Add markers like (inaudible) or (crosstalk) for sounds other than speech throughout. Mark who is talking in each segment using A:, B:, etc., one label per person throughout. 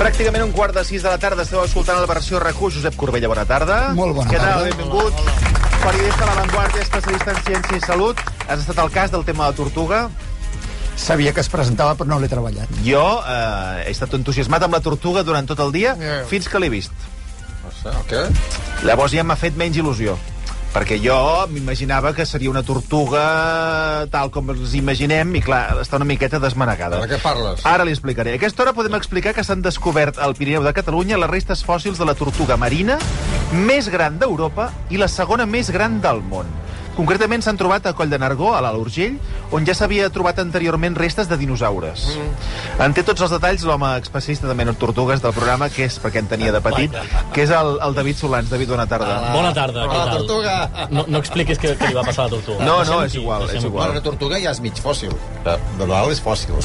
A: pràcticament un quart de sis de la tarda. Esteu escoltant la versió RAC1. Josep Corbella, bona tarda.
B: Molt bona
A: Què
B: tarda.
A: Què tal? Benvingut. Periodista de La Vanguardia, especialista en ciència i salut. Has estat al cas del tema de la tortuga.
B: Sabia que es presentava, però no l'he treballat.
A: Jo eh, he estat entusiasmat amb la tortuga durant tot el dia,
C: Ja.
A: fins que l'he vist.
C: No
D: Ah,
C: sé, el què?
A: Llavors ja m'ha fet menys il·lusió. Perquè jo m'imaginava que seria una tortuga tal com ens imaginem, i clar, està una miqueta desmanegada.
C: De què parles?
A: Ara li explicaré. A aquesta hora podem explicar que s'han descobert al Pirineu de Catalunya les restes fòssils de la tortuga marina més gran d'Europa i la segona més gran del món. Concretament s'han trobat a Coll de Nargó, a l'Alt Urgell, on ja s'havia trobat anteriorment restes de dinosaures. Mm. En té tots els detalls l'home especialista de menys tortugues del programa, que és perquè en tenia de petit, que és el, el David Solans. David, bona tarda.
D: Bona tarda, què
C: Hola,
D: tal?
C: tortuga.
D: No, no expliquis què, què li va passar a la tortuga.
A: No, no,
D: Deixem-ho
A: és
D: aquí,
A: igual,
D: deixem-ho
A: és
D: aquí.
A: igual.
C: Bueno, la tortuga ja és mig fòssil.
D: Ah.
C: De, de dalt és fòssil.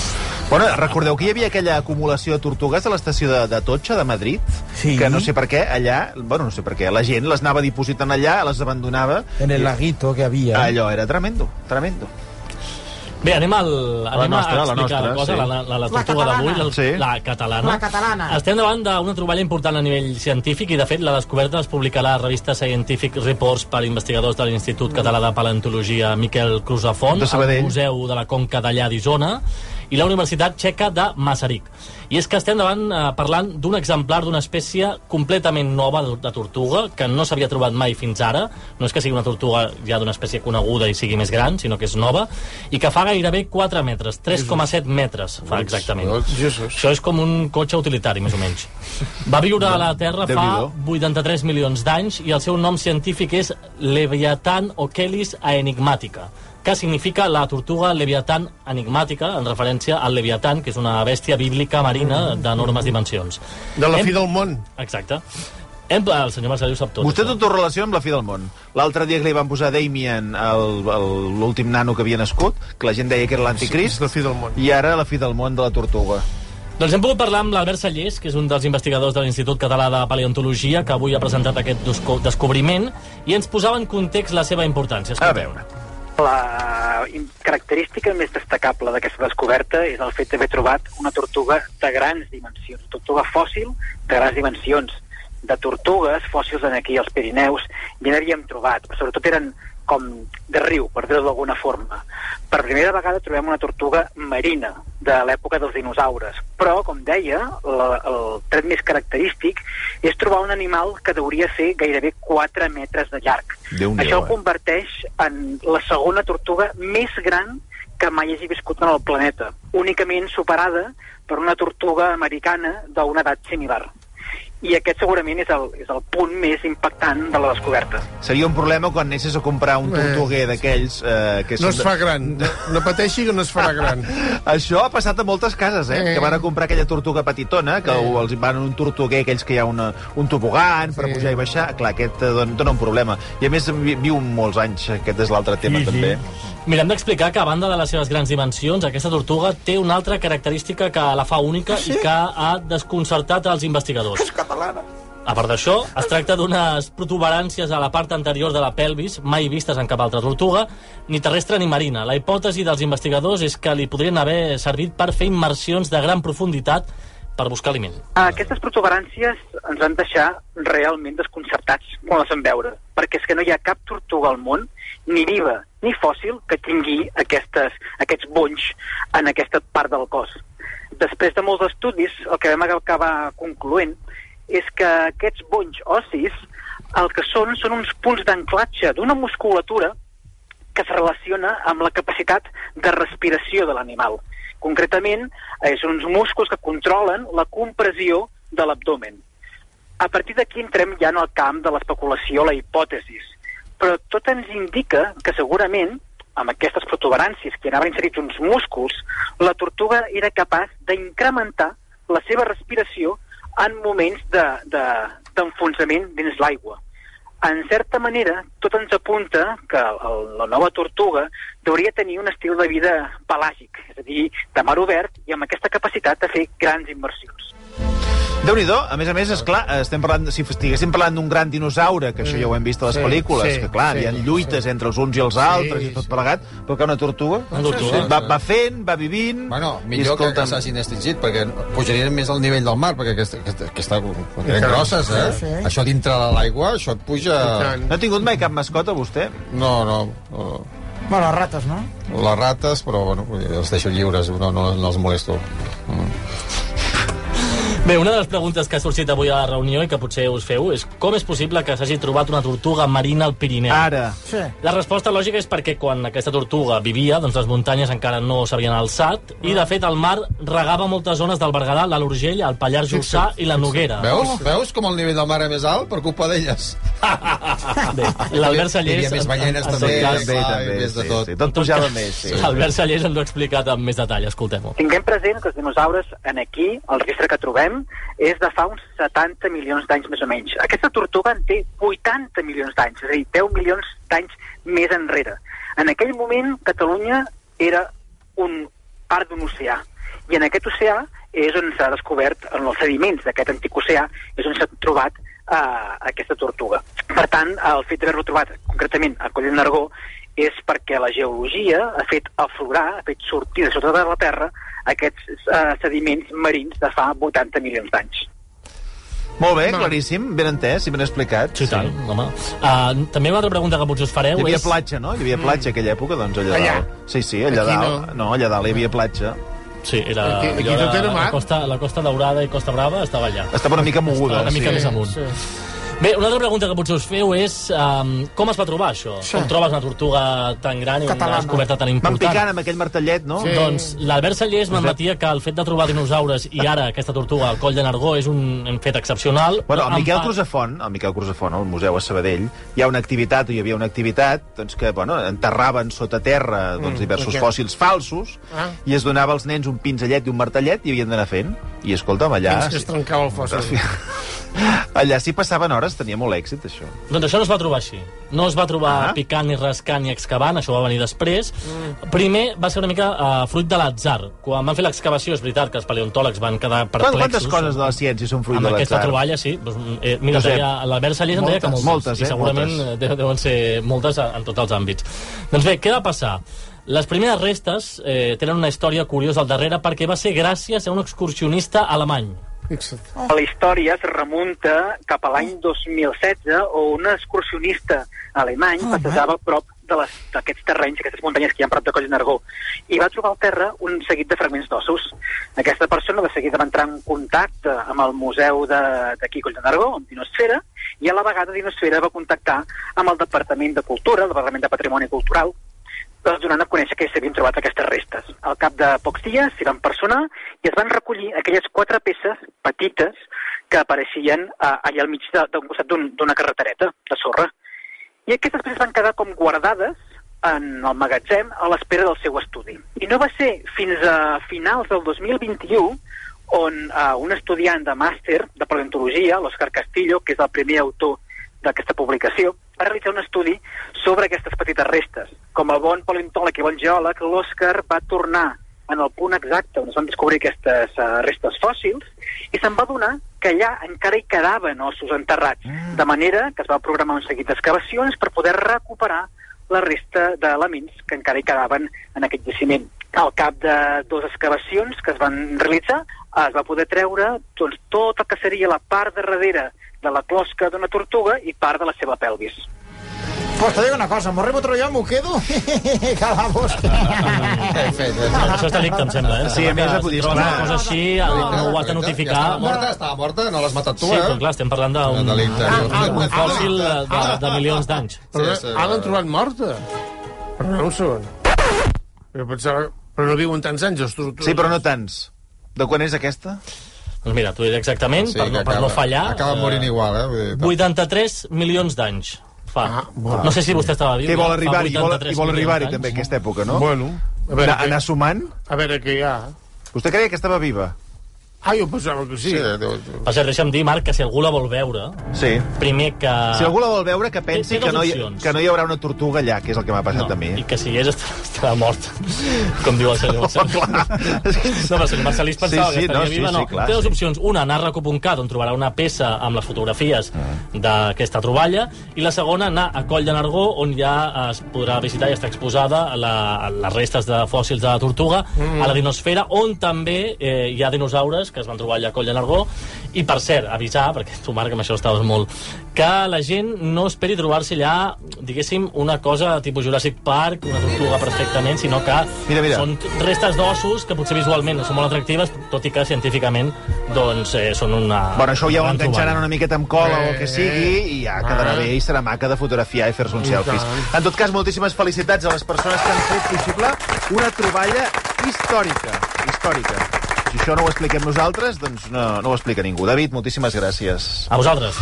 A: Bueno, recordeu que hi havia aquella acumulació de tortugues a l'estació de, de Totxa, de Madrid, sí. que no sé per què allà, bueno, no sé per què, la gent les anava dipositant allà, les abandonava.
E: En el laguito que
F: eh?
E: había.
A: Allò era tremendo, tremendo.
D: Bé, anem, al, anem
A: nostra, la
D: a explicar
A: nostra,
D: la cosa,
A: sí.
D: la, la, la tortuga d'avui, la,
A: Sí.
D: la catalana.
G: La catalana.
D: Estem davant d'una troballa important a nivell científic i, de fet, la descoberta es publicarà a la revista Scientific Reports per investigadors de l'Institut Català de Paleontologia Miquel Cruzafont,
A: De Sabadell.
D: al Museu de la Conca d'allà d'Isona i la Universitat Txeca de Masaryk. I és que estem davant eh, parlant d'un exemplar d'una espècie completament nova de, de tortuga que no s'havia trobat mai fins ara. No és que sigui una tortuga ja d'una espècie coneguda i sigui més gran, sinó que és nova, i que fa gairebé 4 metres, 3,7 metres fa exactament.
C: Jesus.
D: Això és com un cotxe utilitari, més o menys. Va viure a la Terra fa
A: Déu-n'hi-do.
D: 83 milions d'anys i el seu nom científic és Leviathan Ochelis aenigmatica, que significa la tortuga Leviathan enigmàtica, en referència al Leviathan, que és una bèstia bíblica marina d'enormes dimensions.
F: De la
D: Hem-
F: fi del món.
D: Exacte. Hem... ah, El senyor Marcel ho sap tot.
A: Vostè
D: això.
A: tot ho relaciona amb la fi del món. L'altre dia que li van posar Damien, el- el- l'últim nano que havia nascut, que la gent deia que era
F: És
A: l'anticrist,
F: la fi del món.
A: i ara la fi del món de la tortuga.
D: Doncs hem pogut parlar amb l'Albert Sallés, que és un dels investigadors de l'Institut Català de Paleontologia, que avui ha presentat aquest desco- descobriment, i ens posava en context la seva importància.
A: A
D: Escolteu.
A: veure.
H: La característica més destacable d'aquesta descoberta és el fet d'haver trobat una tortuga de grans dimensions, tortuga fòssil de grans dimensions. De tortugues fòssils en aquí als Pirineus ja n'havíem trobat, però sobretot eren com de riu, per dir-ho d'alguna forma. Per primera vegada trobem una tortuga marina de l'època dels dinosaures, però, com deia, la, el tret més característic és trobar un animal que deuria ser gairebé 4 metres de llarg.
A: Déu-n'hi-do,
H: Això
A: eh?
H: ho converteix en la segona tortuga més gran que mai hagi viscut en el planeta, únicament superada per una tortuga americana d'una edat similar. I aquest segurament és el, és el punt més impactant de la descoberta.
A: Seria un problema quan anessis a comprar un
F: Eh,
A: tortuguer d'aquells... Eh, que
F: No
A: són
F: es
A: de-
F: fa gran. No, no pateixi que no es farà
B: (laughs)
F: gran.
A: Això ha passat a moltes cases, eh?
F: Eh.
A: Que van a comprar aquella tortuga petitona, que eh. els van un tortuguer, aquells que hi ha una, un tobogan per
F: Sí.
A: pujar i baixar. Clar, aquest eh, don- dona un problema. I a més vi- viu molts anys, aquest és l'altre tema, sí, també.
D: Mira, hem d'explicar que, a banda de les seves grans dimensions, aquesta tortuga té una altra característica que la fa única i que ha desconcertat els investigadors. Ah, És catalana. A part d'això, es tracta d'unes protuberàncies a la part anterior de la pelvis, mai vistes en cap altra tortuga, ni terrestre ni marina. La hipòtesi dels investigadors és que li podrien haver servit per fer immersions de gran profunditat per buscar aliment.
H: Eh, Aquestes protuberàncies ens van deixar realment desconcertats quan les vam veure, perquè és que no hi ha cap tortuga al món, ni viva ni fòssil, que tingui aquestes, aquests bonys en aquesta part del cos. Després de molts estudis, el que vam acabar concloent és que aquests bonys ossis el que són són uns punts d'anclatge d'una musculatura que es relaciona amb la capacitat de respiració de l'animal. Concretament, eh, són uns músculs que controlen la compressió de l'abdomen. A partir d'aquí entrem ja en el camp de l'especulació, la hipòtesis. Però tot ens indica que segurament, amb aquestes protuberàncies que hi anaven inserits uns músculs, la tortuga era capaç d'incrementar la seva respiració en moments de- de- d'enfonsament de, dins l'aigua en certa manera, tot ens apunta que el, la nova tortuga hauria tenir un estil de vida pelàgic, és a dir, de mar obert i amb aquesta capacitat de fer grans immersions.
A: déu nhi a més a més, és clar, estem parlant, si estiguéssim parlant d'un gran dinosaure, que això ja ho hem vist a les
F: Sí,
A: pel·lícules,
F: sí,
A: que clar,
F: sí,
A: hi ha lluites entre els uns i els altres i tot
F: sí.
A: plegat, però que una tortuga...
D: Una tortuga.
A: Va, va fent, va vivint...
C: Bueno,
A: i
C: millor que, que
A: escolta'm,
C: s'hagin extingit, perquè pujarien més al nivell del mar, perquè aquesta, aquesta, aquesta, eren grosses, eh?
B: Sí, sí.
C: Això dintre de l'aigua, això et puja...
F: tant.
A: No ha tingut mai cap mascota, vostè?
C: No, no, no,
B: Bueno, les rates, no?
C: les rates, però bueno, els deixo lliures, no, no, no els molesto.
D: Bé, una de les preguntes que ha sorgit avui a la reunió i que potser us feu és com és possible que s'hagi trobat una tortuga marina al Pirineu?
A: Ara.
B: Sí.
D: La resposta lògica és perquè quan aquesta tortuga vivia, doncs les muntanyes encara no s'havien alçat i, de fet, el mar regava moltes zones del Berguedà, l'Alt Urgell, el Pallars Jussà i la Noguera.
C: Veus? Veus com el nivell del mar és més alt per culpa d'elles?
D: Bé, l'Albert
C: Hi
D: Sallés...
C: havia més ballenes,
D: en, en,
C: també.
D: en
A: Bé,
D: tot cas,
C: Ai,
A: també,
C: més de
A: sí,
C: tot.
A: sí, tot pujava més, sí.
D: Albert Sallés ens ho ha explicat amb més detall, escoltem-ho.
H: Tinguem present que els dinosaures en aquí, el registre que trobem, és de fa uns 70 milions d'anys més o menys. Aquesta tortuga en té 80 milions d'anys, és a dir, 10 milions d'anys més enrere. En aquell moment, Catalunya era un part d'un oceà, i en aquest oceà és on s'ha descobert, en els sediments d'aquest antic oceà, és on s'ha trobat eh, aquesta tortuga. Per tant, el fet d'haver-lo trobat concretament a Coll de Nargó és perquè la geologia ha fet aflorar, ha fet sortir de sota de la Terra aquests eh, sediments marins de fa 80 milions d'anys.
A: Molt bé, claríssim, ben entès i ben explicat.
D: Sí, tant, home. Uh, també una altra pregunta que potser us fareu
A: Hi havia
D: és...
A: platja, no? Hi havia
D: Mm.
A: platja aquella època, doncs allà,
F: Allà.
A: dalt. Sí, sí, allà
F: Aquí
A: dalt. No. allà dalt hi havia platja.
D: Sí, era...
F: Aquí- aquí
D: allò
F: tot
D: de-
F: era
D: la
F: mar.
D: costa, la costa Daurada i Costa Brava estava allà.
A: Estava una mica moguda.
D: Estava una mica
A: sí.
D: més amunt.
B: sí.
D: Bé, una altra pregunta que potser us feu és um, com es va trobar això?
B: Sí.
D: Com trobes una tortuga tan gran i una
B: Catalana.
D: descoberta tan
A: Van
D: important?
A: picant amb aquell martellet, no?
F: Sí.
D: Doncs l'Albert Sallés m'admetia que el fet de trobar dinosaures i ara aquesta tortuga al coll de Nargó és un, un fet excepcional.
A: Bueno,
D: En
A: el Miquel
D: part-
A: Cruzafont, el Miquel Cruzafont, al Museu a Sabadell, hi ha una activitat, o hi havia una activitat, doncs que, bueno, enterraven sota terra doncs, diversos
F: ok.
A: fòssils falsos
F: Mm, Ah.
A: i es donava als nens un pinzellet i un martellet i havien d'anar fent. I, escolta'm, allà... Doncs,
F: Fins que es trencava el fòssil.
A: (laughs) Allà sí passaven hores, tenia molt èxit, això.
D: Doncs això no es va trobar així. No es va trobar
A: Ah.
D: picant, ni rascant, ni excavant, això va venir després. Mm. Primer va ser una mica uh, fruit de l'atzar. Quan van fer l'excavació, és veritat que els paleontòlegs van quedar
A: Quan,
D: perplexos.
A: quantes
F: eh?
A: coses de la ciència són fruit
D: amb
A: de
D: aquesta
A: l'atzar?
D: troballa, sí. Doncs, eh, mira,
A: Josep.
D: deia, l'Albert Sallés em deia que moltes.
A: Moltes, moltes,
D: I
A: eh,
D: segurament
A: moltes.
D: eh, de- deuen ser moltes en en tots els àmbits. Doncs bé, què va passar? Les primeres restes eh, tenen una història curiosa al darrere perquè va ser gràcies a un excursionista alemany.
F: Fixa't.
H: Oh. La història es remunta cap a l'any 2016, on un excursionista alemany
B: Alemany?
H: passejava a prop de les- d'aquests terrenys, aquestes muntanyes que hi ha prop de Coll de Nargó, i va trobar al terra un seguit de fragments d'ossos. Aquesta persona de seguida va entrar en contacte amb el museu de- d'aquí Coll de Nargó, amb Dinosfera, i a la vegada Dinosfera va contactar amb el Departament de Cultura, el Departament de Patrimoni Cultural, doncs donant a conèixer que s'havien trobat aquestes restes. Al cap de pocs dies s'hi van personar i es van recollir aquelles quatre peces petites que apareixien eh, allà al mig de- d'un costat d'un- d'una carretereta de sorra. I aquestes peces van quedar com guardades en el magatzem a l'espera del seu estudi. I no va ser fins a finals del 2021 on eh, un estudiant de màster de paleontologia, l'Òscar Castillo, que és el primer autor d'aquesta publicació, va realitzar un estudi sobre aquestes petites restes. Com a bon paleontòleg i bon geòleg, l'Òscar va tornar en el punt exacte on es van descobrir aquestes eh, restes fòssils i se'n va adonar que allà encara hi quedaven ossos enterrats, de manera que es va programar un seguit d'excavacions per poder recuperar la resta d'elements que encara hi quedaven en aquest jaciment. Al cap de dues excavacions que es van realitzar, es va poder treure doncs, tot el que seria la part de darrere de la closca d'una tortuga i part de la seva pelvis.
B: Pues te digo una cosa, morremo otro yo, me quedo. (laughs) Calabos.
C: (laughs) Bé fet, bé fet.
D: Això és delicte, em sembla, eh? Em
A: Sí,
D: sembla
A: a més,
D: que
A: ho
D: si
A: podies-
D: trobes una
A: clar.
D: cosa així, eh, no, no ho has de notificar.
C: Ja estava morta, estava morta, no l'has matat tu,
D: Sí,
C: eh?
D: però clar, estem parlant d'un
C: Delicte, això.
D: un fòssil de, de, de milions d'anys.
F: Però
C: Sí, sí.
F: ara l'han trobat morta. Però no un segon. Però, pensava... però no viuen tants anys, els tortugues.
A: Sí, però no tants. De quan és aquesta?
D: Doncs mira, t'ho diré exactament,
C: Sí,
D: per,
C: que
D: no, per no fallar.
C: Acaba morint
D: eh,
C: igual, eh? Vull dir, tant.
D: 83 milions d'anys fa.
F: Ah, bueno.
D: no sé si vostè estava viu.
A: Què vol
D: ja, fa
A: arribar-hi? I vol,
D: 83
A: i vol arribar-hi
D: milions
A: també
D: d'anys.
A: aquesta època, no?
F: Bueno, a veure,
A: Anar, anar
F: què,
A: sumant?
F: a veure què hi ha.
A: Vostè creia que estava viva?
F: Ah, jo pensava que sí.
C: Sí, eh,
F: sí.
C: diu, diu.
D: Per cert, deixa'm dir, Marc, que si algú la vol veure,
A: Sí.
D: primer que...
A: Si algú la vol veure, que pensi
D: Ah. Té- té
A: que no, hi,
D: dues opcions.
A: que no hi haurà una tortuga allà, que és el que m'ha passat
D: no,
A: a mi. (laughs)
D: I que si hi és estarà, estarà mort, com diu el senyor Marcelí. (laughs) No, però el senyor Marcelí es pensava
A: Oh, Sí, sí,
D: que estaria
A: no, sí,
D: viva,
A: sí,
D: no.
A: clar,
D: Té dues
A: sí.
D: opcions. Una, anar a reco.cat, on trobarà una peça amb les fotografies
A: Ah.
D: d'aquesta troballa, i la segona, anar a Coll de Nargó, on ja es podrà visitar i està exposada la, les restes de fòssils de la tortuga, a la dinosfera, on també eh, hi ha dinosaures que es van trobar allà a Coll de Nargó. I, per cert, avisar, perquè tu, Marc, amb això estaves molt, que la gent no esperi trobar-se allà, diguéssim, una cosa tipus Jurassic Park, una tortuga perfectament, sinó que
A: Mira, mira.
D: són restes d'ossos que potser visualment no són molt atractives, tot i que científicament doncs, eh, són una...
A: Bueno, això ja ho
D: una gran
A: enganxaran una miqueta amb cola o el que sigui i ja quedarà
F: Eh.
A: bé i serà maca de fotografiar i fer-se uns
F: I
A: selfies.
F: tant.
A: En tot cas, moltíssimes felicitats a les persones que han fet possible una troballa històrica. Històrica. Si això no ho expliquem nosaltres, doncs no, no ho explica ningú. David, moltíssimes gràcies.
D: trobada. A vosaltres.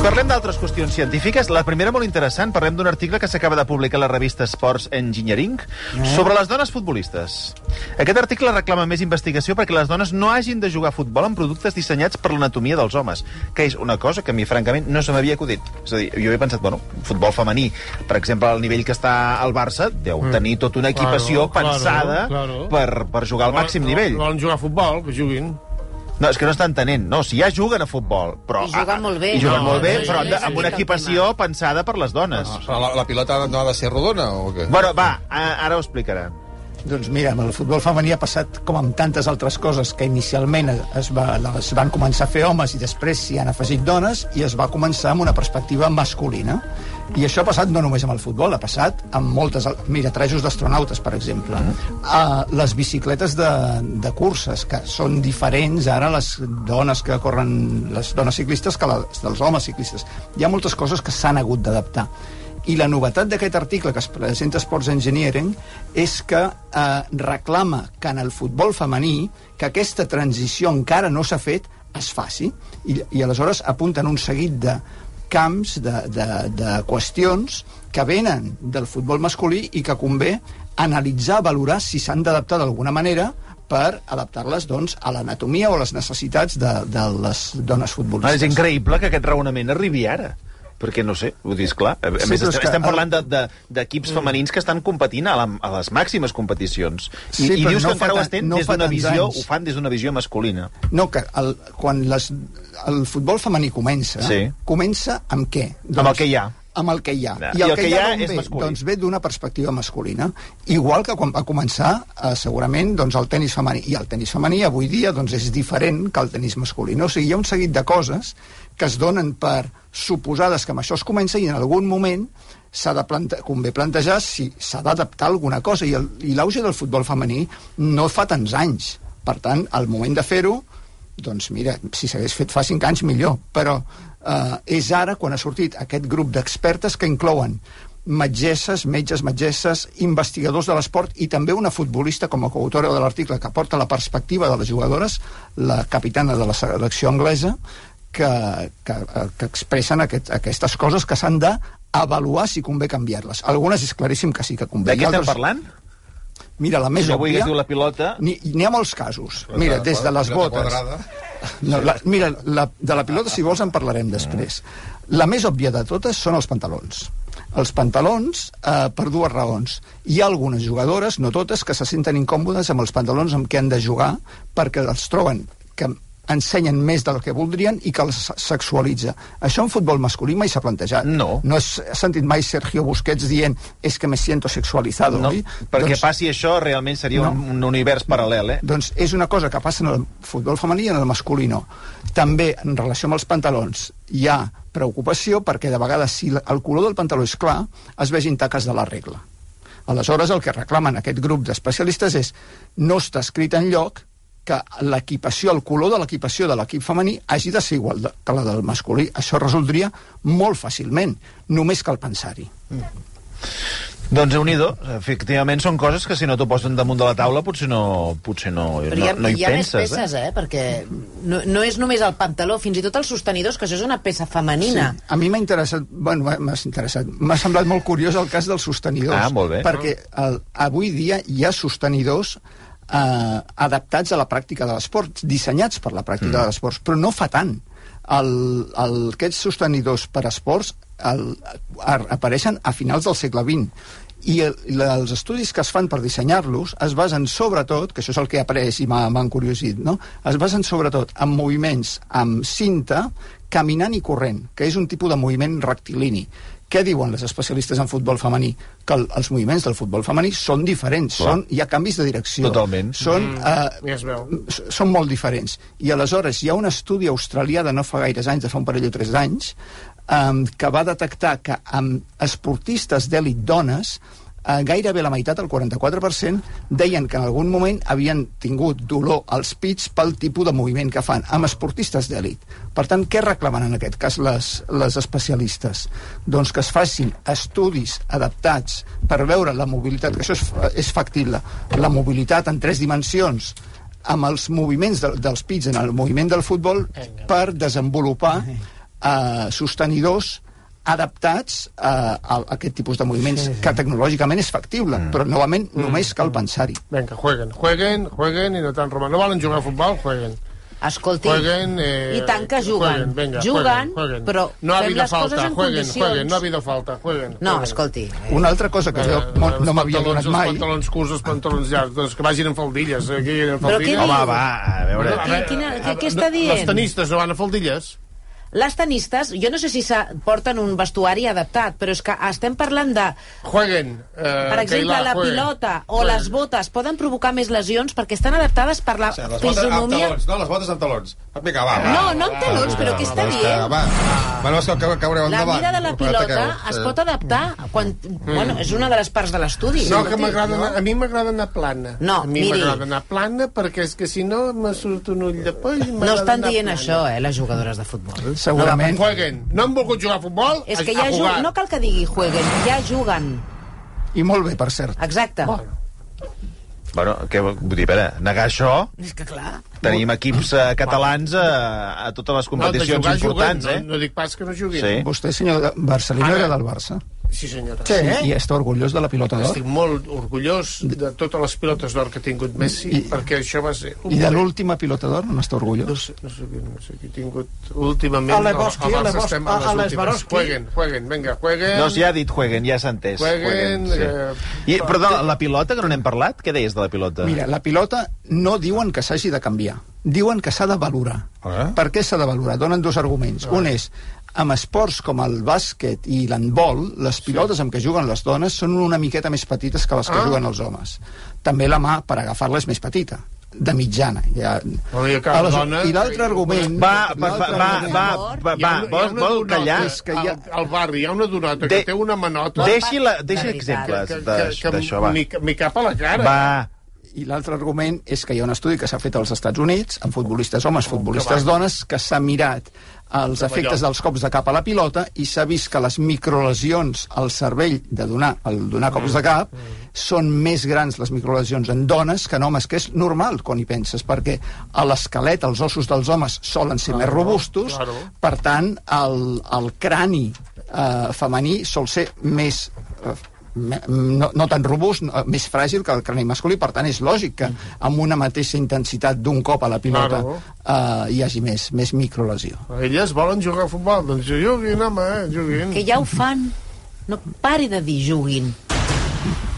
A: Parlem d'altres qüestions científiques. La primera molt interessant, parlem d'un article que s'acaba de publicar a la revista Sports Engineering
F: Eh?
A: sobre les dones futbolistes. Aquest article reclama més investigació perquè les dones no hagin de jugar a futbol amb productes dissenyats per l'anatomia dels homes, que és una cosa que a mi, francament, no se m'havia acudit. És a dir, jo he pensat, bueno, futbol femení, per exemple, al nivell que està al Barça, deu tenir tota una equipació
F: Mm. Claro, claro,
A: pensada
F: claro.
A: Per, per jugar al màxim nivell.
F: Volen jugar a futbol, que juguin.
A: No, és que no està entenent. No, si ja juguen a futbol, però...
E: I juguen molt bé.
A: I juguen
E: No,
A: molt bé,
E: no,
A: però
E: no,
A: de-
E: no,
A: amb
E: no,
A: una
E: no,
A: equipació pensada per les dones.
C: La, la pilota no ha de ser rodona o què?
A: Bueno, va, a- ara ho explicarà.
B: Doncs mira, amb el futbol femení ha passat com amb tantes altres coses que inicialment es, va, es van començar a fer homes i després s'hi han afegit dones i es va començar amb una perspectiva masculina. I això ha passat no només amb el futbol, ha passat amb moltes... al- Mira, trajos d'astronautes, per exemple. Uh, les bicicletes de, de curses, que són diferents ara les dones que corren... les dones ciclistes que les dels homes ciclistes. Hi ha moltes coses que s'han hagut d'adaptar. I la novetat d'aquest article que es presenta a Sports Engineering és que eh, reclama que en el futbol femení que aquesta transició encara no s'ha fet es faci. I, I aleshores apunten un seguit de camps, de, de, de qüestions que venen del futbol masculí i que convé analitzar, valorar si s'han d'adaptar d'alguna manera per adaptar-les doncs, a l'anatomia o a les necessitats de, de les dones
A: No, és
B: futbolistes.
A: increïble que aquest raonament arribi ara. Perquè, no sé, ho dius clar. A a
B: Sí,
A: més,
B: però és
A: estem,
B: que- Mm.
A: estem parlant de- de- d'equips femenins que estan competint a, la, a les màximes competicions. I,
B: Sí,
A: i
B: però
A: dius
B: no
A: que encara
B: fa
A: ho
B: tan-
A: estem
B: no
A: des
B: fa
A: d'una
B: tants
A: visió,
B: anys.
A: ho fan des d'una visió masculina.
B: No, que el, quan les, el futbol femení comença,
A: Sí.
B: comença amb què?
A: Amb el que hi ha.
B: Amb el que hi ha.
A: Ja. I el que hi ha
B: d'on
A: és
B: ve?
A: masculí.
B: Doncs ve d'una perspectiva masculina. Igual que quan va començar, eh, segurament, doncs, el tennis femení. I el tennis femení avui dia doncs, és diferent que el tennis masculí. No? O sigui, hi ha un seguit de coses que es donen per suposades que amb això es comença i en algun moment s'ha de plante convé plantejar si s'ha d'adaptar alguna cosa. I el- I l'auge del futbol femení no fa tants anys. Per tant, al moment de fer-ho, doncs mira, si s'hagués fet fa cinc anys, millor. Però eh, és ara quan ha sortit aquest grup d'expertes que inclouen metgesses, metges, metgesses, investigadors de l'esport i també una futbolista com a coautora de l'article que porta la perspectiva de les jugadores, la capitana de la selecció anglesa, que, que, eh, que expressen aquest, aquestes coses que s'han d'avaluar si convé canviar-les. Algunes és claríssim que sí que convé.
A: De què
B: i
A: estem
B: altres-
A: parlant?
B: Mira, la més
A: Jo avui
B: òbvia...
A: que es diu la pilota...
B: Ni- N'hi ha molts casos. Mira,
C: Quadrada,
B: des de les
C: pilota
B: botes...
C: quadrada.
B: No, la, mira, la, de la pilota, si vols, en parlarem després. La més òbvia de totes són els pantalons. Els pantalons, eh, per dues raons. Hi ha algunes jugadores, no totes, que se senten incòmodes amb els pantalons amb què han de jugar perquè els troben que ensenyen més del que voldrien i que els se- sexualitza. Això en futbol masculí mai s'ha plantejat.
A: No.
B: No has sentit mai Sergio Busquets dient és es que me siento sexualizado,
A: No,
B: oi?
A: perquè
B: Doncs-
A: passi això, realment seria
B: No.
A: un, un univers paral·lel, eh?
B: doncs és una cosa que passa en el futbol femení i en el masculí no. També, en relació amb els pantalons, hi ha preocupació perquè de vegades, si la- el color del pantaló és clar, es vegin taques de la regla. Aleshores, el que reclamen aquest grup d'especialistes és no està escrit en lloc que l'equipació, el color de l'equipació de l'equip femení hagi de ser igual de- que la del masculí. Això es resoldria molt fàcilment, només cal pensar-hi.
A: Doncs déu nhi efectivament són coses que si no t'ho posen damunt de la taula potser no, potser no,
E: Però hi ha,
A: Eh, no, no hi,
E: hi ha
A: penses.
E: més peces, eh? Perquè no, no és només el pantaló, fins i tot els sostenidors, que això és una peça femenina.
B: Sí, a mi m'ha interessat, bueno, m'ha- m'ha interessat, m'ha semblat molt curiós el cas dels sostenidors.
A: Ah, molt bé.
B: Perquè el, avui dia hi ha sostenidors eh, adaptats a la pràctica de l'esport, dissenyats per la pràctica mm. de l'esport, però no fa tant. El, el, aquests sostenidors per esports el, a, apareixen a finals del segle XX i el, la- els estudis que es fan per dissenyar-los es basen sobretot, que això és el que he après i m'ha m'ha encuriosit, no? es basen sobretot en moviments amb cinta, caminant i corrent, que és un tipus de moviment rectilini. Què diuen les especialistes en futbol femení? Que el, els moviments del futbol femení són diferents,
A: Clar.
B: són, hi ha canvis de direcció.
A: Totalment.
B: Són,
E: Ah.
B: mm,
F: ja es veu.
B: s- són molt diferents. I aleshores hi ha un estudi australià de no fa gaires anys, de fa un parell o tres anys, um, que va detectar que amb esportistes d'èlit dones eh, gairebé la meitat, el 44%, deien que en algun moment havien tingut dolor als pits pel tipus de moviment que fan, amb esportistes d'èlit. Per tant, què reclamen en aquest cas les, les especialistes? Doncs que es facin estudis adaptats per veure la mobilitat, que això és, fa- és factible, la mobilitat en tres dimensions, amb els moviments de, dels pits en el moviment del futbol per desenvolupar eh, sostenidors adaptats eh, a a aquest tipus de moviments, sí, sí. que tecnològicament és factible, mm. però novament mm. només cal pensar-hi.
F: Vinga, jueguen, jueguen, jueguen i no tant roman. No volen jugar a futbol, jueguen.
E: Escolti,
F: Jueguen, eh,
E: i tant que juguen.
F: Jueguen, vinga,
E: juguen,
F: jueguen, jueguen.
E: però
F: no ha
E: fem
F: habido
E: les
F: falta,
E: coses en
F: jueguen,
E: condicions.
F: Jueguen, no ha habido falta, jueguen.
E: No,
F: jueguen.
E: escolti,
B: Una altra cosa que jo
F: Eh,
B: mo-
F: els
B: no m'havia
F: pantalons,
B: donat mai...
F: Els pantalons curts, els pantalons llargs, doncs que vagin amb faldilles. eh, Que hi ha
E: Però què
F: faldilles.
E: diu?
A: Home, va, a veure...
E: Qui- quina- què- què està
F: Eh, No,
E: dient?
F: Els tenistes no van a faldilles?
E: les tenistes, jo no sé si s'ha- porten un vestuari adaptat, però és que estem parlant de,
F: Jueguen. Eh,
E: per exemple,
F: Keila,
E: la
F: jueguen.
E: pilota o
F: Jueguen.
E: les botes poden provocar més lesions perquè estan adaptades per la
C: Sí, les botes amb
E: fisonomia...
C: talons, no? Les Ah, botes amb talons. Vinga, va, va.
E: No, no amb talons, però què està
C: Va,
E: dient?
C: va. Bueno, és que cau- caureu
E: La
C: endavant.
E: mida de la
C: Però ataqueu.
E: pilota es pot adaptar quan... Bueno, és una de les parts de l'estudi.
F: No, que m'agrada anar- a mi m'agrada anar plana.
E: No,
F: a mi
E: miri.
F: m'agrada anar plana perquè és que si no me surt un ull de poll. i
E: No
F: m'agrada
E: estan
F: anar
E: dient
F: plana.
E: això, eh, les jugadores de futbol.
B: Segurament...
F: Jueguen. No han volgut jugar a futbol,
E: És
F: a-
E: que
F: a
E: ja
F: jugar.
E: juguen, no cal que digui jueguen, ja juguen.
B: I molt bé, per cert.
E: Exacte.
F: Bueno,
A: Bueno, què vol vull dir? A veure, negar això...
E: És que clar...
A: Tenim equips eh, catalans a, a totes les
F: no, de
A: competicions
F: jugar,
A: importants,
F: juguen.
A: eh?
F: No, no dic pas que no juguin.
A: Sí.
B: Vostè, senyor de- Barcelona,
F: Ara.
B: era del Barça.
F: Sí, senyora.
B: Sí, I està orgullós de la pilota d'or.
F: Estic molt orgullós de totes les pilotes d'or que ha tingut Messi,
B: I-
F: perquè això va ser... un
B: I de
F: moment.
B: l'última pilota d'or no n'està
F: No
B: orgullós.
F: sé, no sé, qui- no sé qui he tingut últimament...
G: A Lewandowski,
F: al- al Barça
G: a Lewandowski,
F: estem
G: a- a
F: les últimes.
G: Lewandowski.
F: Jueguen, jueguen, vinga, jueguen...
A: No, ja ha dit jueguen, ja s'ha entès.
F: Jueguen, eh,
A: I, però de la, la pilota, que no n'hem parlat, què deies de la pilota?
B: Mira, la pilota no diuen que s'hagi de canviar. Diuen que s'ha de valorar.
C: Ah.
B: Per què s'ha de valorar? Donen dos arguments.
A: Ah.
B: Un és, amb esports com el bàsquet i l'handbol, les pilotes amb què juguen les dones són una miqueta més petites que les que
F: Ah.
B: juguen els homes. També la mà per agafar-la és més petita, de mitjana. Ja...
F: Bueno, i cada
B: Aleshores,
F: dona-
B: I l'altre argument...
A: Va, va, va,
B: l'altre
A: va,
B: argument-
A: va, va,
F: Hi
A: va,
F: ha una- hi ha
A: vol,
F: una
A: vol
F: donota
A: callar?
B: És que hi ha-
F: Al, al barri hi ha una donota
A: De-
F: que té una manota...
A: Deixi, la, deixi
E: De veritat.
A: exemples
F: que,
A: d'aix- d'això, va.
F: m'hi ca- m'hi cap a la cara.
A: Va,
B: I l'altre argument és que hi ha un estudi que s'ha fet als Estats Units, amb futbolistes homes, futbolistes dones, que s'ha mirat els efectes dels cops de cap a la pilota i s'ha vist que les microlesions al cervell de donar, el donar cops de cap són més grans les microlesions en dones que en homes, que és normal quan hi penses, perquè a l'esquelet els ossos dels homes solen ser més robustos,
F: claro.
B: per tant, el, el crani eh, femení sol ser més... Eh, me- no, no tan robust, no, eh, més fràgil que el crani masculí, per tant és lògic que amb una mateixa intensitat d'un cop a la pilota
F: Claro.
B: eh, hi hagi més, més microlesió.
F: Elles volen jugar a futbol, doncs juguin, home, eh, juguin.
E: que ja ho fan. No pari de dir juguin.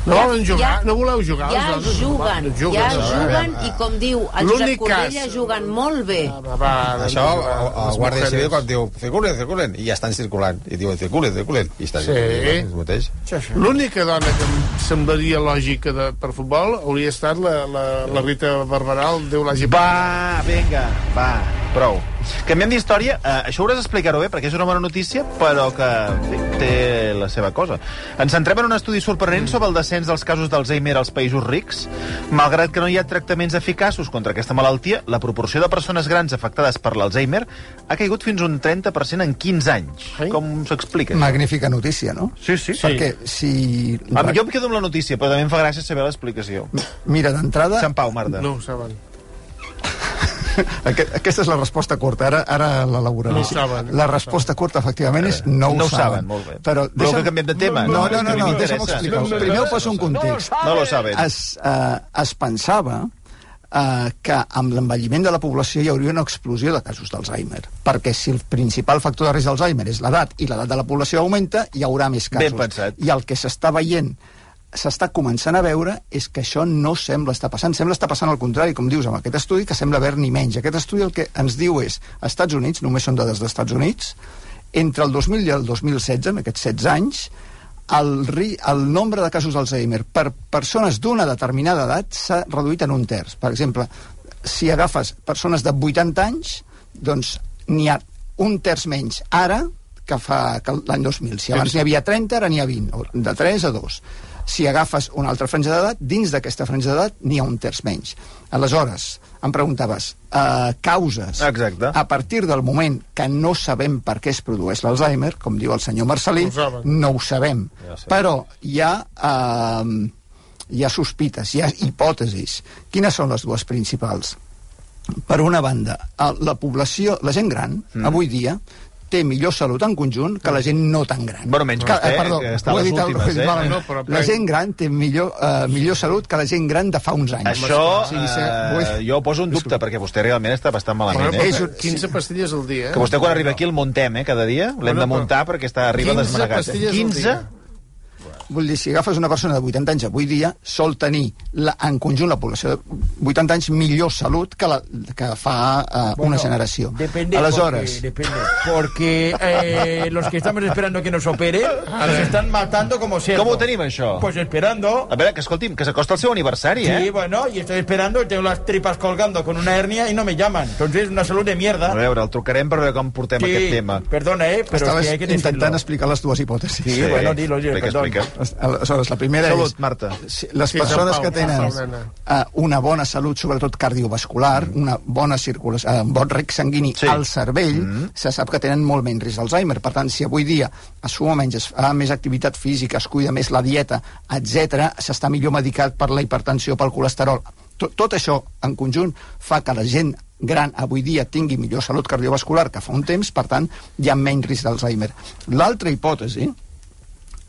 F: No volen jugar,
E: ja-
F: no voleu jugar.
E: Ja
F: vosaltres?
E: juguen,
F: No
E: ja
F: no, va,
E: juguen
C: va.
E: i com diu el Josep
F: L'únic
E: Corbella,
F: cas-
E: juguen molt bé.
F: Va, va, doncs
C: Això,
F: va,
C: el, el
F: les
C: Guàrdia Civil,
F: mujeres.
C: quan diu circulen, circulen, i ja estan circulant. I diuen circulen, circulen, i estan
F: Sí.
C: circulant. el mateix.
F: L'única dona que em semblaria lògica de, per futbol hauria estat la, la, la Rita Barberal, Déu l'hagi
A: va, vinga, va, prou. Canviem d'història, uh, això hauràs d'explicar-ho bé, perquè és una bona notícia, però que bé, té la seva cosa. Ens centrem en un estudi sorprenent sobre el descens dels casos d'Alzheimer als països rics. Malgrat que no hi ha tractaments eficaços contra aquesta malaltia, la proporció de persones grans afectades per l'Alzheimer ha caigut fins un 30% en 15 anys.
F: Ai.
A: Com s'explica? això?
B: Magnífica notícia, no?
A: Sí, sí.
B: Perquè si...
A: A mi, jo Ah, em quedo amb la notícia, però també em fa gràcia saber l'explicació.
B: Mira, d'entrada...
A: Sant Pau, Marta.
F: No ho saben.
B: Aquest, aquesta és la resposta curta, ara, ara l'elaboraré.
F: No ho saben.
B: La resposta curta, efectivament, és Eh, no ho
A: No ho
B: saben.
A: saben, molt bé.
B: Però
A: Voleu que canviem de tema?
B: No,
A: No,
B: no,
A: és que
B: no, no,
A: m'interessa.
B: deixa'm explicar-ho.
A: No, no, no,
B: Primer
A: no,
B: ho poso en
A: no,
B: context.
A: No lo saben.
B: Es, eh, es pensava eh, que amb l'envelliment de la població hi hauria una explosió de casos d'Alzheimer. Perquè si el principal factor de risc d'Alzheimer és l'edat i l'edat de la població augmenta, hi haurà més casos.
A: Ben pensat.
B: I el que s'està veient s'està començant a veure és que això no sembla estar passant. Sembla estar passant al contrari, com dius, amb aquest estudi, que sembla haver-n'hi menys. Aquest estudi el que ens diu és, als Estats Units, només són dades dels Estats Units, entre el 2000 i el 2016, en aquests 16 anys, el, ri- el nombre de casos d'Alzheimer per persones d'una determinada edat s'ha reduït en un terç. Per exemple, si agafes persones de 80 anys, doncs n'hi ha un terç menys ara que fa que l'any 2000. Si abans n'hi havia 30, ara n'hi ha 20, o de 3 a 2. Si agafes una altra franja d'edat, dins d'aquesta franja d'edat n'hi ha un terç menys. Aleshores, em preguntaves, eh, causes.
A: Exacte.
B: A partir del moment que no sabem per què es produeix l'Alzheimer, com diu el senyor Marcelí,
F: Ho saben.
B: no ho sabem.
C: Ja ho sabem.
B: Però hi ha, eh, hi ha sospites, hi ha hipòtesis. Quines són les dues principals? Per una banda, el- la població, la gent gran, mm. avui dia, té millor salut en conjunt que la gent no tan gran.
A: Bueno, menys
B: que, eh,
A: vostè,
B: perdó,
A: que està
B: ho he
A: a les
B: dit al-
A: últimes,
B: ho he dit
A: eh?
B: malament.
F: No, però-
B: la gent gran té millor, eh, millor salut que la gent gran de fa uns anys.
A: Això
B: Sí, sí,
A: eh,
B: vull-
A: jo ho poso en dubte, perquè vostè realment està bastant malament.
F: Bueno,
A: Eh?
B: és un-
F: 15 pastilles al dia, eh?
A: Que vostè quan arriba aquí el muntem, eh, cada dia. L'hem
F: Bueno,
A: de
F: però-
A: muntar perquè està arriba
F: 15
A: desmanegat. eh?
F: pastilles al
A: 15?
F: dia.
B: Vull dir, si agafes una persona de 80 anys avui dia, sol tenir la, en conjunt la població de 80 anys millor salut que, la, que fa eh, una generación. generació.
G: Depende.
B: Aleshores,
G: Porque, depende. Porque eh, los que estamos esperando que nos operen
A: Ah.
G: nos están matando como siempre.
A: Com ho tenim, això?
G: Pues esperando.
A: A veure, que escolti'm, que s'acosta el seu aniversari,
G: Sí,
A: eh?
G: bueno, y estoy esperando, tengo las tripas colgando con una hernia y no me llaman. Entonces, una salud de
A: A
G: mierda.
A: veure, el trucarem per veure com portem
G: Sí,
A: aquest tema.
G: perdona, eh, pero es
B: estaves
G: que hay que
B: intentant
G: decirlo.
B: explicar les dues hipòtesis.
G: Sí, bueno, dilo, dilo,
A: explica,
G: perdón.
A: explica.
B: Aleshores, la primera
A: Salut,
B: és...
A: Marta.
B: si- Les
F: Sí,
B: persones
F: Pau,
B: que tenen
F: Pau, nena.
B: eh, una bona salut, sobretot cardiovascular, una bona circulació, eh, un bon rec sanguini
A: Sí.
B: sí. al cervell, se sap que tenen molt menys risc d'Alzheimer. Per tant, si avui dia es fuma menys, es fa més activitat física, es cuida més la dieta, etc, s'està millor medicat per la hipertensió, pel colesterol. Tot, tot això en conjunt fa que la gent gran avui dia tingui millor salut cardiovascular que fa un temps, per tant, hi ha menys risc d'Alzheimer. L'altra hipòtesi,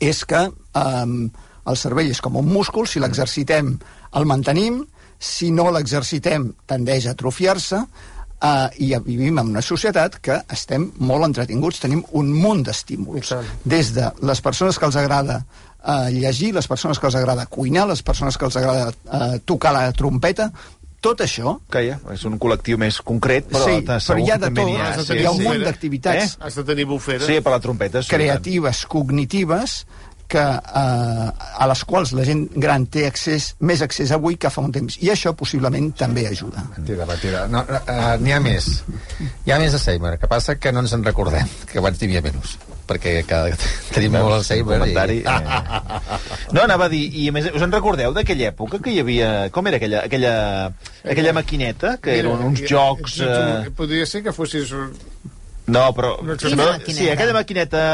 B: és que eh, el cervell és com un múscul, si l'exercitem el mantenim, si no l'exercitem tendeix a atrofiar-se, eh, i vivim en una societat que estem molt entretinguts, tenim un munt
F: I
B: d'estímuls.
F: tant.
B: Des de les persones que els agrada eh, llegir, les persones que els agrada cuinar, les persones que els agrada eh, tocar la trompeta, tot això
A: Que ja, és un col·lectiu més concret, però
B: Sí,
A: ta-
B: però
A: segur
B: hi ha
A: que
B: de
A: també
B: tot,
A: n'hi
F: has de
A: sí,
F: tenir
A: sí.
F: un munt
B: d'activitats.
A: Eh?
F: Has de tenir bufera.
A: Sí, per la trompeta. sí,
B: creatives, cognitives, que, eh, a les quals la gent gran té accés, més accés avui que fa un temps. I això possiblement també ajuda.
C: Mentida, mentida. No, no, eh, N'hi ha més. Hi ha més Alzheimer. Que passa que no ens en recordem, que abans n'hi havia menys. Perquè cada... (laughs) tenim molt Alzheimer.
A: comentari,
C: I...
A: eh. No, anava a dir, i a més, us en recordeu d'aquella època que hi havia... Com era aquella, aquella, aquella
F: Eh,
A: maquineta? Que
F: Mira,
A: eren uns
F: i-
A: jocs...
F: i-
A: Eh...
F: Podria ser que fossis... un-
A: No, però...
F: Una
A: sí,
E: maquineta.
A: però- Sí, aquella maquineta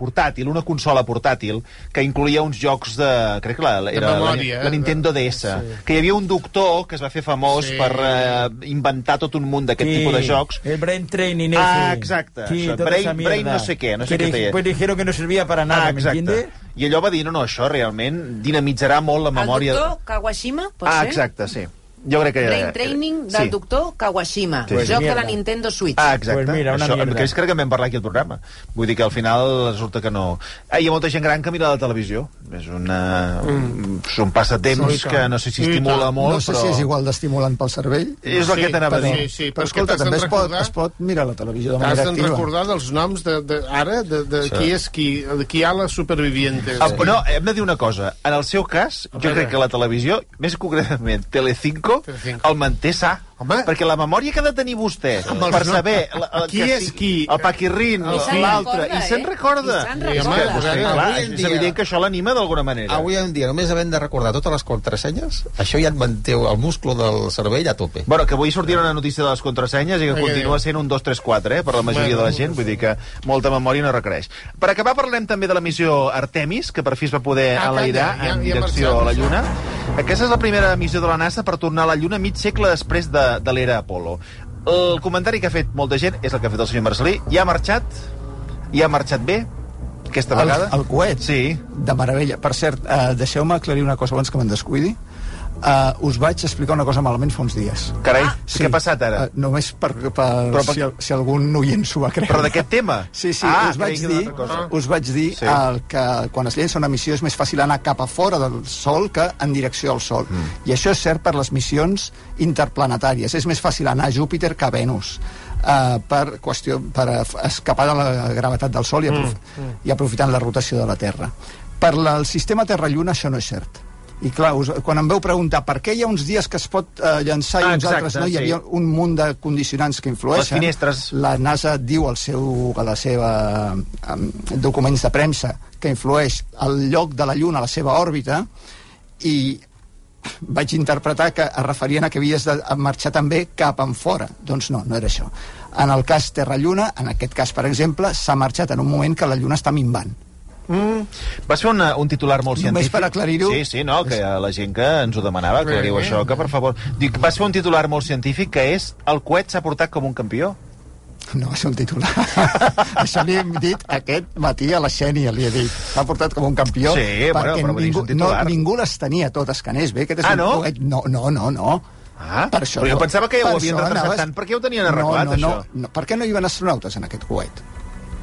A: portàtil, una consola portàtil, que incloïa uns jocs de... Crec que la, la-
F: De
A: era la,
F: memòria, eh?
A: la Nintendo DS. Sí. Que hi havia un doctor que es va fer famós
F: Sí.
A: sí. per eh, inventar tot un munt d'aquest
G: Sí,
A: tipus de jocs.
G: El brain training ese.
A: Ah, exacto,
G: Sí,
A: eso,
G: toda
A: brain-
G: esa mierda.
A: brain no sé qué, no sé
G: Que
A: qué
G: di-
A: te-
G: Pues dijeron que no servía para nada,
A: Ah,
G: ¿me
A: exacte.
G: entiende?
A: I allò va dir, no, no, això realment dinamitzarà molt la
F: Ah,
E: El
A: memòria...
E: doctor Kawashima, pot
A: Ah,
E: ser?
A: exacte, sí. Jo crec que...
E: Brain Training del
A: sí.
E: doctor Kawashima.
A: Sí.
E: Joc de la
G: Mierda.
E: Nintendo Switch.
A: Ah, exacte.
G: Pues mira, una
A: Això,
G: mierda.
A: que és crec que en vam parlar aquí al programa. Vull dir que al final resulta que no... Ah, hi ha molta gent gran que mira la televisió. És una... Mm. Són
F: Sí, i
A: passatemps
F: tant.
A: que no sé si
F: Sí, i
A: estimula
F: tant.
A: molt,
B: no sé
A: però...
B: si és igual d'estimulant pel cervell,
A: És el
F: Sí,
A: que t'anava a
F: però-
A: dir.
F: Sí, sí,
B: però
F: perquè
B: escolta,
F: t'has de
B: també es pot,
F: recordar-
B: es pot mirar la televisió de
F: T'has
B: manera
F: de
B: activa.
F: recordar dels noms de, de, ara, de, de sí. qui és qui, de qui hi ha les supervivientes.
A: Ah, però no, hem de dir una cosa. En el seu cas, jo crec que la televisió, més concretament Telecinco,
F: Telecinco.
A: el manté sa.
F: Home.
A: Perquè la memòria que ha de tenir vostè
F: Amb els
A: per
F: noms.
A: saber... La, la,
F: Qui
A: que
F: és
A: sí-
F: qui?
A: El Paquirrin,
E: I se'n
A: l'altre...
E: recorda,
A: I se'n
E: eh?
A: recorda.
E: I se'n
A: I és
F: recorda.
A: que, vostè,
C: Avui
A: clar,
C: en
A: és
C: dia-
A: evident que això l'anima d'alguna manera.
C: Avui en dia només havent de recordar totes les contrasenyes, això ja et manté el múscul del cervell a tope.
A: Bueno, que avui sortirà una notícia de les contrasenyes i que
F: Ai,
A: continua
F: ai.
A: sent un 2, 3, 4, eh, per la majoria de la gent, vull dir que molta memòria no requereix. Per acabar, parlem també de la missió Artemis, que per fi es va poder
F: Ah,
A: enlairar
F: calla, ja-
A: en
F: ja
A: direcció a la
F: marxem.
A: Lluna. Aquesta és la primera missió de la NASA per tornar a la Lluna mig segle després de, de l'era Apolo. El comentari que ha fet molta gent és el que ha fet el senyor Marcelí. Ja ha marxat? Ja ha marxat bé? Aquesta
B: El,
A: vegada?
B: el coet?
A: Sí.
B: De meravella. Per cert, eh, deixeu-me aclarir una cosa abans que me'n descuidi. Uh, us vaig explicar una cosa malament fa uns dies.
A: Carai, què ha passat ara?
B: Uh, només per, per, per
A: Però per-
B: si, al- si algun oient s'ho va creure.
A: Però d'aquest tema?
B: Sí, sí,
A: Ah,
B: us vaig
A: creia que era
B: dir,
A: una altra cosa.
B: us vaig dir
A: Sí.
B: sí. el que quan es llença una missió és més fàcil anar cap a fora del Sol que en direcció al Sol. Mm. I això és cert per les missions interplanetàries. És més fàcil anar a Júpiter que a Venus. Uh, per qüestió per eh, f- escapar de la gravetat del Sol i, aprof mm. i aprofitant la rotació de la Terra. Per la, el sistema Terra-Lluna això no és cert. I clar, us, quan em veu preguntar per què hi ha uns dies que es pot eh, llançar i
A: Ah,
B: uns
A: exacte,
B: altres no, hi
A: sí.
B: havia un munt de condicionants que influeixen.
A: Les finestres.
B: La NASA diu al seu, a la seva um, documents de premsa que influeix el lloc de la Lluna a la seva òrbita i vaig interpretar que es referien a que havies de marxar també cap en fora. Doncs no, no era això. En el cas Terra-Lluna, en aquest cas, per exemple, s'ha marxat en un moment que la Lluna està minvant.
A: Mm. Vas fer una, un titular molt
B: Només
A: científic.
B: per aclarir-ho.
A: Sí, sí, no, que la gent que ens ho demanava, aclariu
F: Bé, bé.
A: això, que per favor... Dic, vas fer un titular molt científic que és el coet s'ha portat com un campió.
B: No va ser un titular. (laughs) Això li hem dit aquest matí a la Xènia, li he dit. S'ha portat com un campió
A: Sí, bueno,
B: perquè
A: però vull dir, és
B: ningú,
A: un
B: no,
A: titular.
B: ningú les tenia totes que anés bé. Aquest és
A: Ah,
B: un
A: no?
B: coet- No, no, no, no.
A: Ah, però jo pensava que ja ho
B: per
A: havien
B: això
A: retrasat
B: anaves-
A: tant. Per què ho tenien arreglat,
B: no, no,
A: això?
B: No, no, per què no hi van astronautes en aquest coet?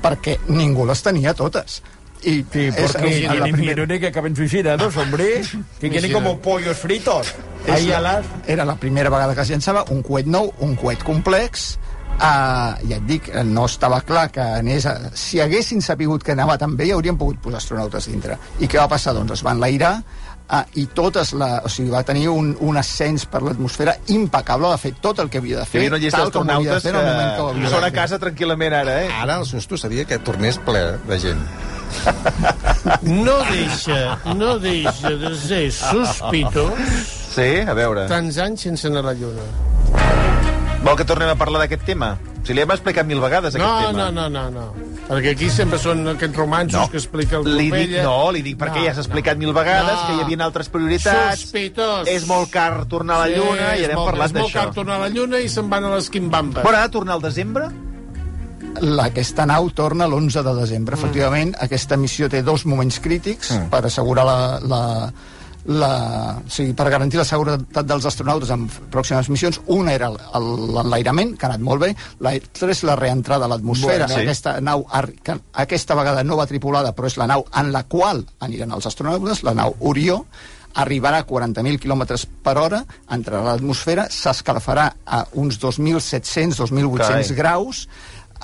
B: Perquè ningú les tenia totes. I
G: Sí,
B: és-
G: porque
B: en
G: tienen
B: la primera-
G: millones que acaben suicidados, hombre. Que quieren como pollos fritos.
B: És
G: Ahí
B: la-
G: a las...
B: Era la primera vegada que es llançava un coet nou, un coet complex, Uh, ja et dic, no estava clar que anés a... si haguessin sapigut que anava tan bé ja haurien pogut posar astronautes dintre i què va passar? Doncs es van lairar uh, i totes la... o sigui, va tenir un, un ascens per l'atmosfera impecable va fer tot el que havia de
A: Hi
B: fer
A: havia una llista
B: tal com ho havia de
A: d'astronautes
B: fer
A: que,
B: en el moment que ho
A: que
B: havia
A: són a
B: de fer.
A: casa tranquil·lament ara, eh?
C: Ara el susto seria que tornés ple de gent.
F: No deixa, no deixa de ser sospitós
A: Sí, a veure.
F: tants anys sense anar a la Lluna.
A: Vol que tornem a parlar d'aquest tema? Si li hem explicat mil vegades,
F: No,
A: aquest tema.
F: no, no, no, no. Perquè aquí sempre són aquests romansos que explica el
A: Li dic,
F: Corbella.
A: no, li dic perquè ja s'ha explicat mil vegades que hi havia altres prioritats.
F: Sospitós.
A: És molt car tornar a la Lluna i
F: és
A: anem
F: molt-
A: parlant
F: És molt car
A: d'això.
F: tornar a la Lluna i se'n van a les quimbambes.
A: Però ha de tornar al desembre?
B: La- Aquesta nau torna l'11 de desembre.
A: Mm.
B: Efectivament, aquesta missió té dos moments crítics mm. per assegurar la, la, la, o sigui, per garantir la seguretat dels astronautes en f- pròximes missions. Una era el- el- l'enlairament, que ha anat molt bé. L'altra és la reentrada a l'atmosfera.
A: Bueno, sí.
B: Bueno, Aquesta nau, ar- que aquesta vegada no va tripulada, però és la nau en la qual aniran els astronautes, la nau Orió, arribarà a 40.000 km per hora, entrarà a l'atmosfera, s'escalfarà a uns 2.700-2.800
A: Carai.
B: graus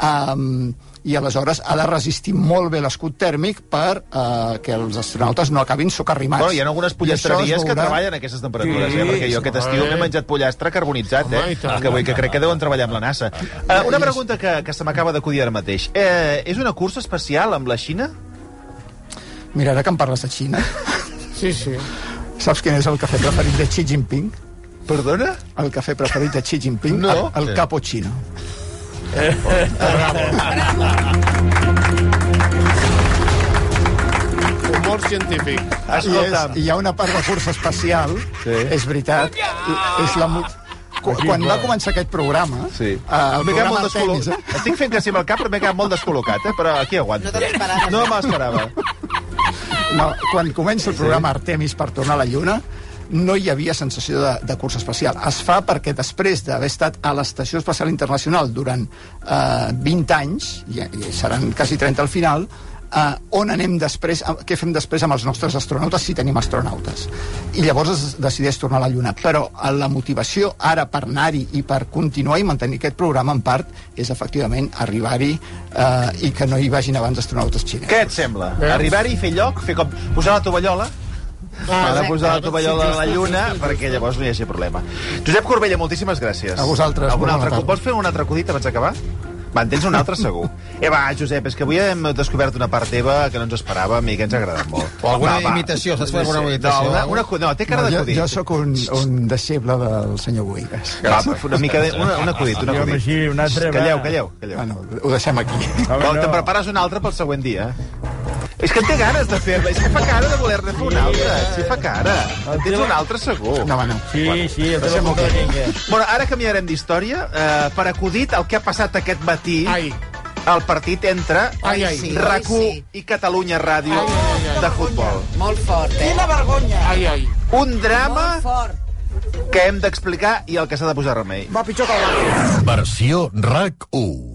B: um, i aleshores ha de resistir molt bé l'escut tèrmic per uh, que els astronautes no acabin socarrimats.
A: Bueno, hi ha algunes
B: I això
A: pollastreries
B: es
A: que
B: veurà-
A: treballen a aquestes temperatures,
G: Sí,
A: eh? perquè jo
G: sí,
A: aquest estiu
F: home.
A: m'he menjat pollastre carbonitzat,
F: Home,
A: eh?
F: i tant.
A: que vull que crec que deuen treballar amb la NASA. Uh, una pregunta que, que se m'acaba d'acudir ara mateix. Eh, és una cursa especial amb la Xina?
B: Mira, ara que em parles de Xina,
F: Sí, sí.
B: saps quin és el cafè preferit de Xi Jinping?
A: Perdona?
B: El cafè preferit de Xi Jinping?
A: No. Sí.
B: El, el capo xino.
F: Humor científic.
A: Ah, Escolta'm.
B: I és, hi ha una part de curs especial, sí. és veritat. i- És la, mu- Qu- quan va començar aquest programa,
A: Sí.
B: eh, el
A: m'he quedat
B: programa
A: Ah, molt
B: de tenis,
A: descol·locat.
B: eh?
A: Estic fent que sí amb el cap, però m'he quedat molt descol·locat, eh? però aquí aguanto.
E: No te l'esperaves.
A: No me l'esperava.
B: no, quan comença el programa Artemis per tornar a la Lluna, no hi havia sensació de, de curs especial. Es fa perquè després d'haver estat a l'Estació Espacial Internacional durant eh, 20 anys, i, i seran quasi 30 al final, eh, on anem després, eh, què fem després amb els nostres astronautes, si tenim astronautes. I llavors es decideix tornar a la Lluna. Però eh, la motivació ara per anar-hi i per continuar i mantenir aquest programa en part és efectivament arribar-hi eh, i que no hi vagin abans astronautes xinesos.
A: Què et sembla? Arribar-hi, fer lloc, fer com... Posar la tovallola? Ah, Ara posar la tovallola a la lluna, perquè llavors no hi hagi problema. Josep Corbella, moltíssimes gràcies.
B: A vosaltres,
A: Algun
B: bona
A: altre,
B: tarda.
A: cop? vols fer un altre acudit abans d'acabar? Va, en tens un altre, segur. Eh, va, Josep, és que avui hem descobert una part teva que no ens esperàvem i que ens ha agradat molt.
C: O alguna
A: Va, va.
C: imitació, saps fer alguna
A: No,
C: imitació?
A: una, una, acu- no, té cara
B: No, jo,
A: d'acudit.
B: jo sóc un, un deixeble del senyor Boigas.
A: Va, per fer una mica de... Una, un acudit, un
G: Jo, home,
A: acudit.
G: sí, una altra, va.
A: Calleu, calleu, calleu.
B: Bueno, Ah, ho deixem aquí.
G: Home,
A: Però
G: no.
A: te'n prepares un altre pel següent dia. És que en té ganes de fer-la. És que fa cara de voler-ne fer un altre. Sí, fa cara. En tens un altre, segur.
B: No, bueno.
G: Sí, sí, el tema punto de
A: Bueno, ara canviarem d'història eh, per acudit el que ha passat aquest matí
F: Ai,
A: el partit entre
F: Ai, ai.
E: sí,
A: RAC1
E: sí.
A: i Catalunya Ràdio
F: Ai, ai, ai.
A: de futbol.
E: Molt fort, eh?
I: Quina vergonya.
F: Ai, ai.
A: Un drama
I: Molt fort.
A: que hem d'explicar i al que s'ha de posar remei.
I: Va pitjor que el Barça.
J: Versió RAC 1.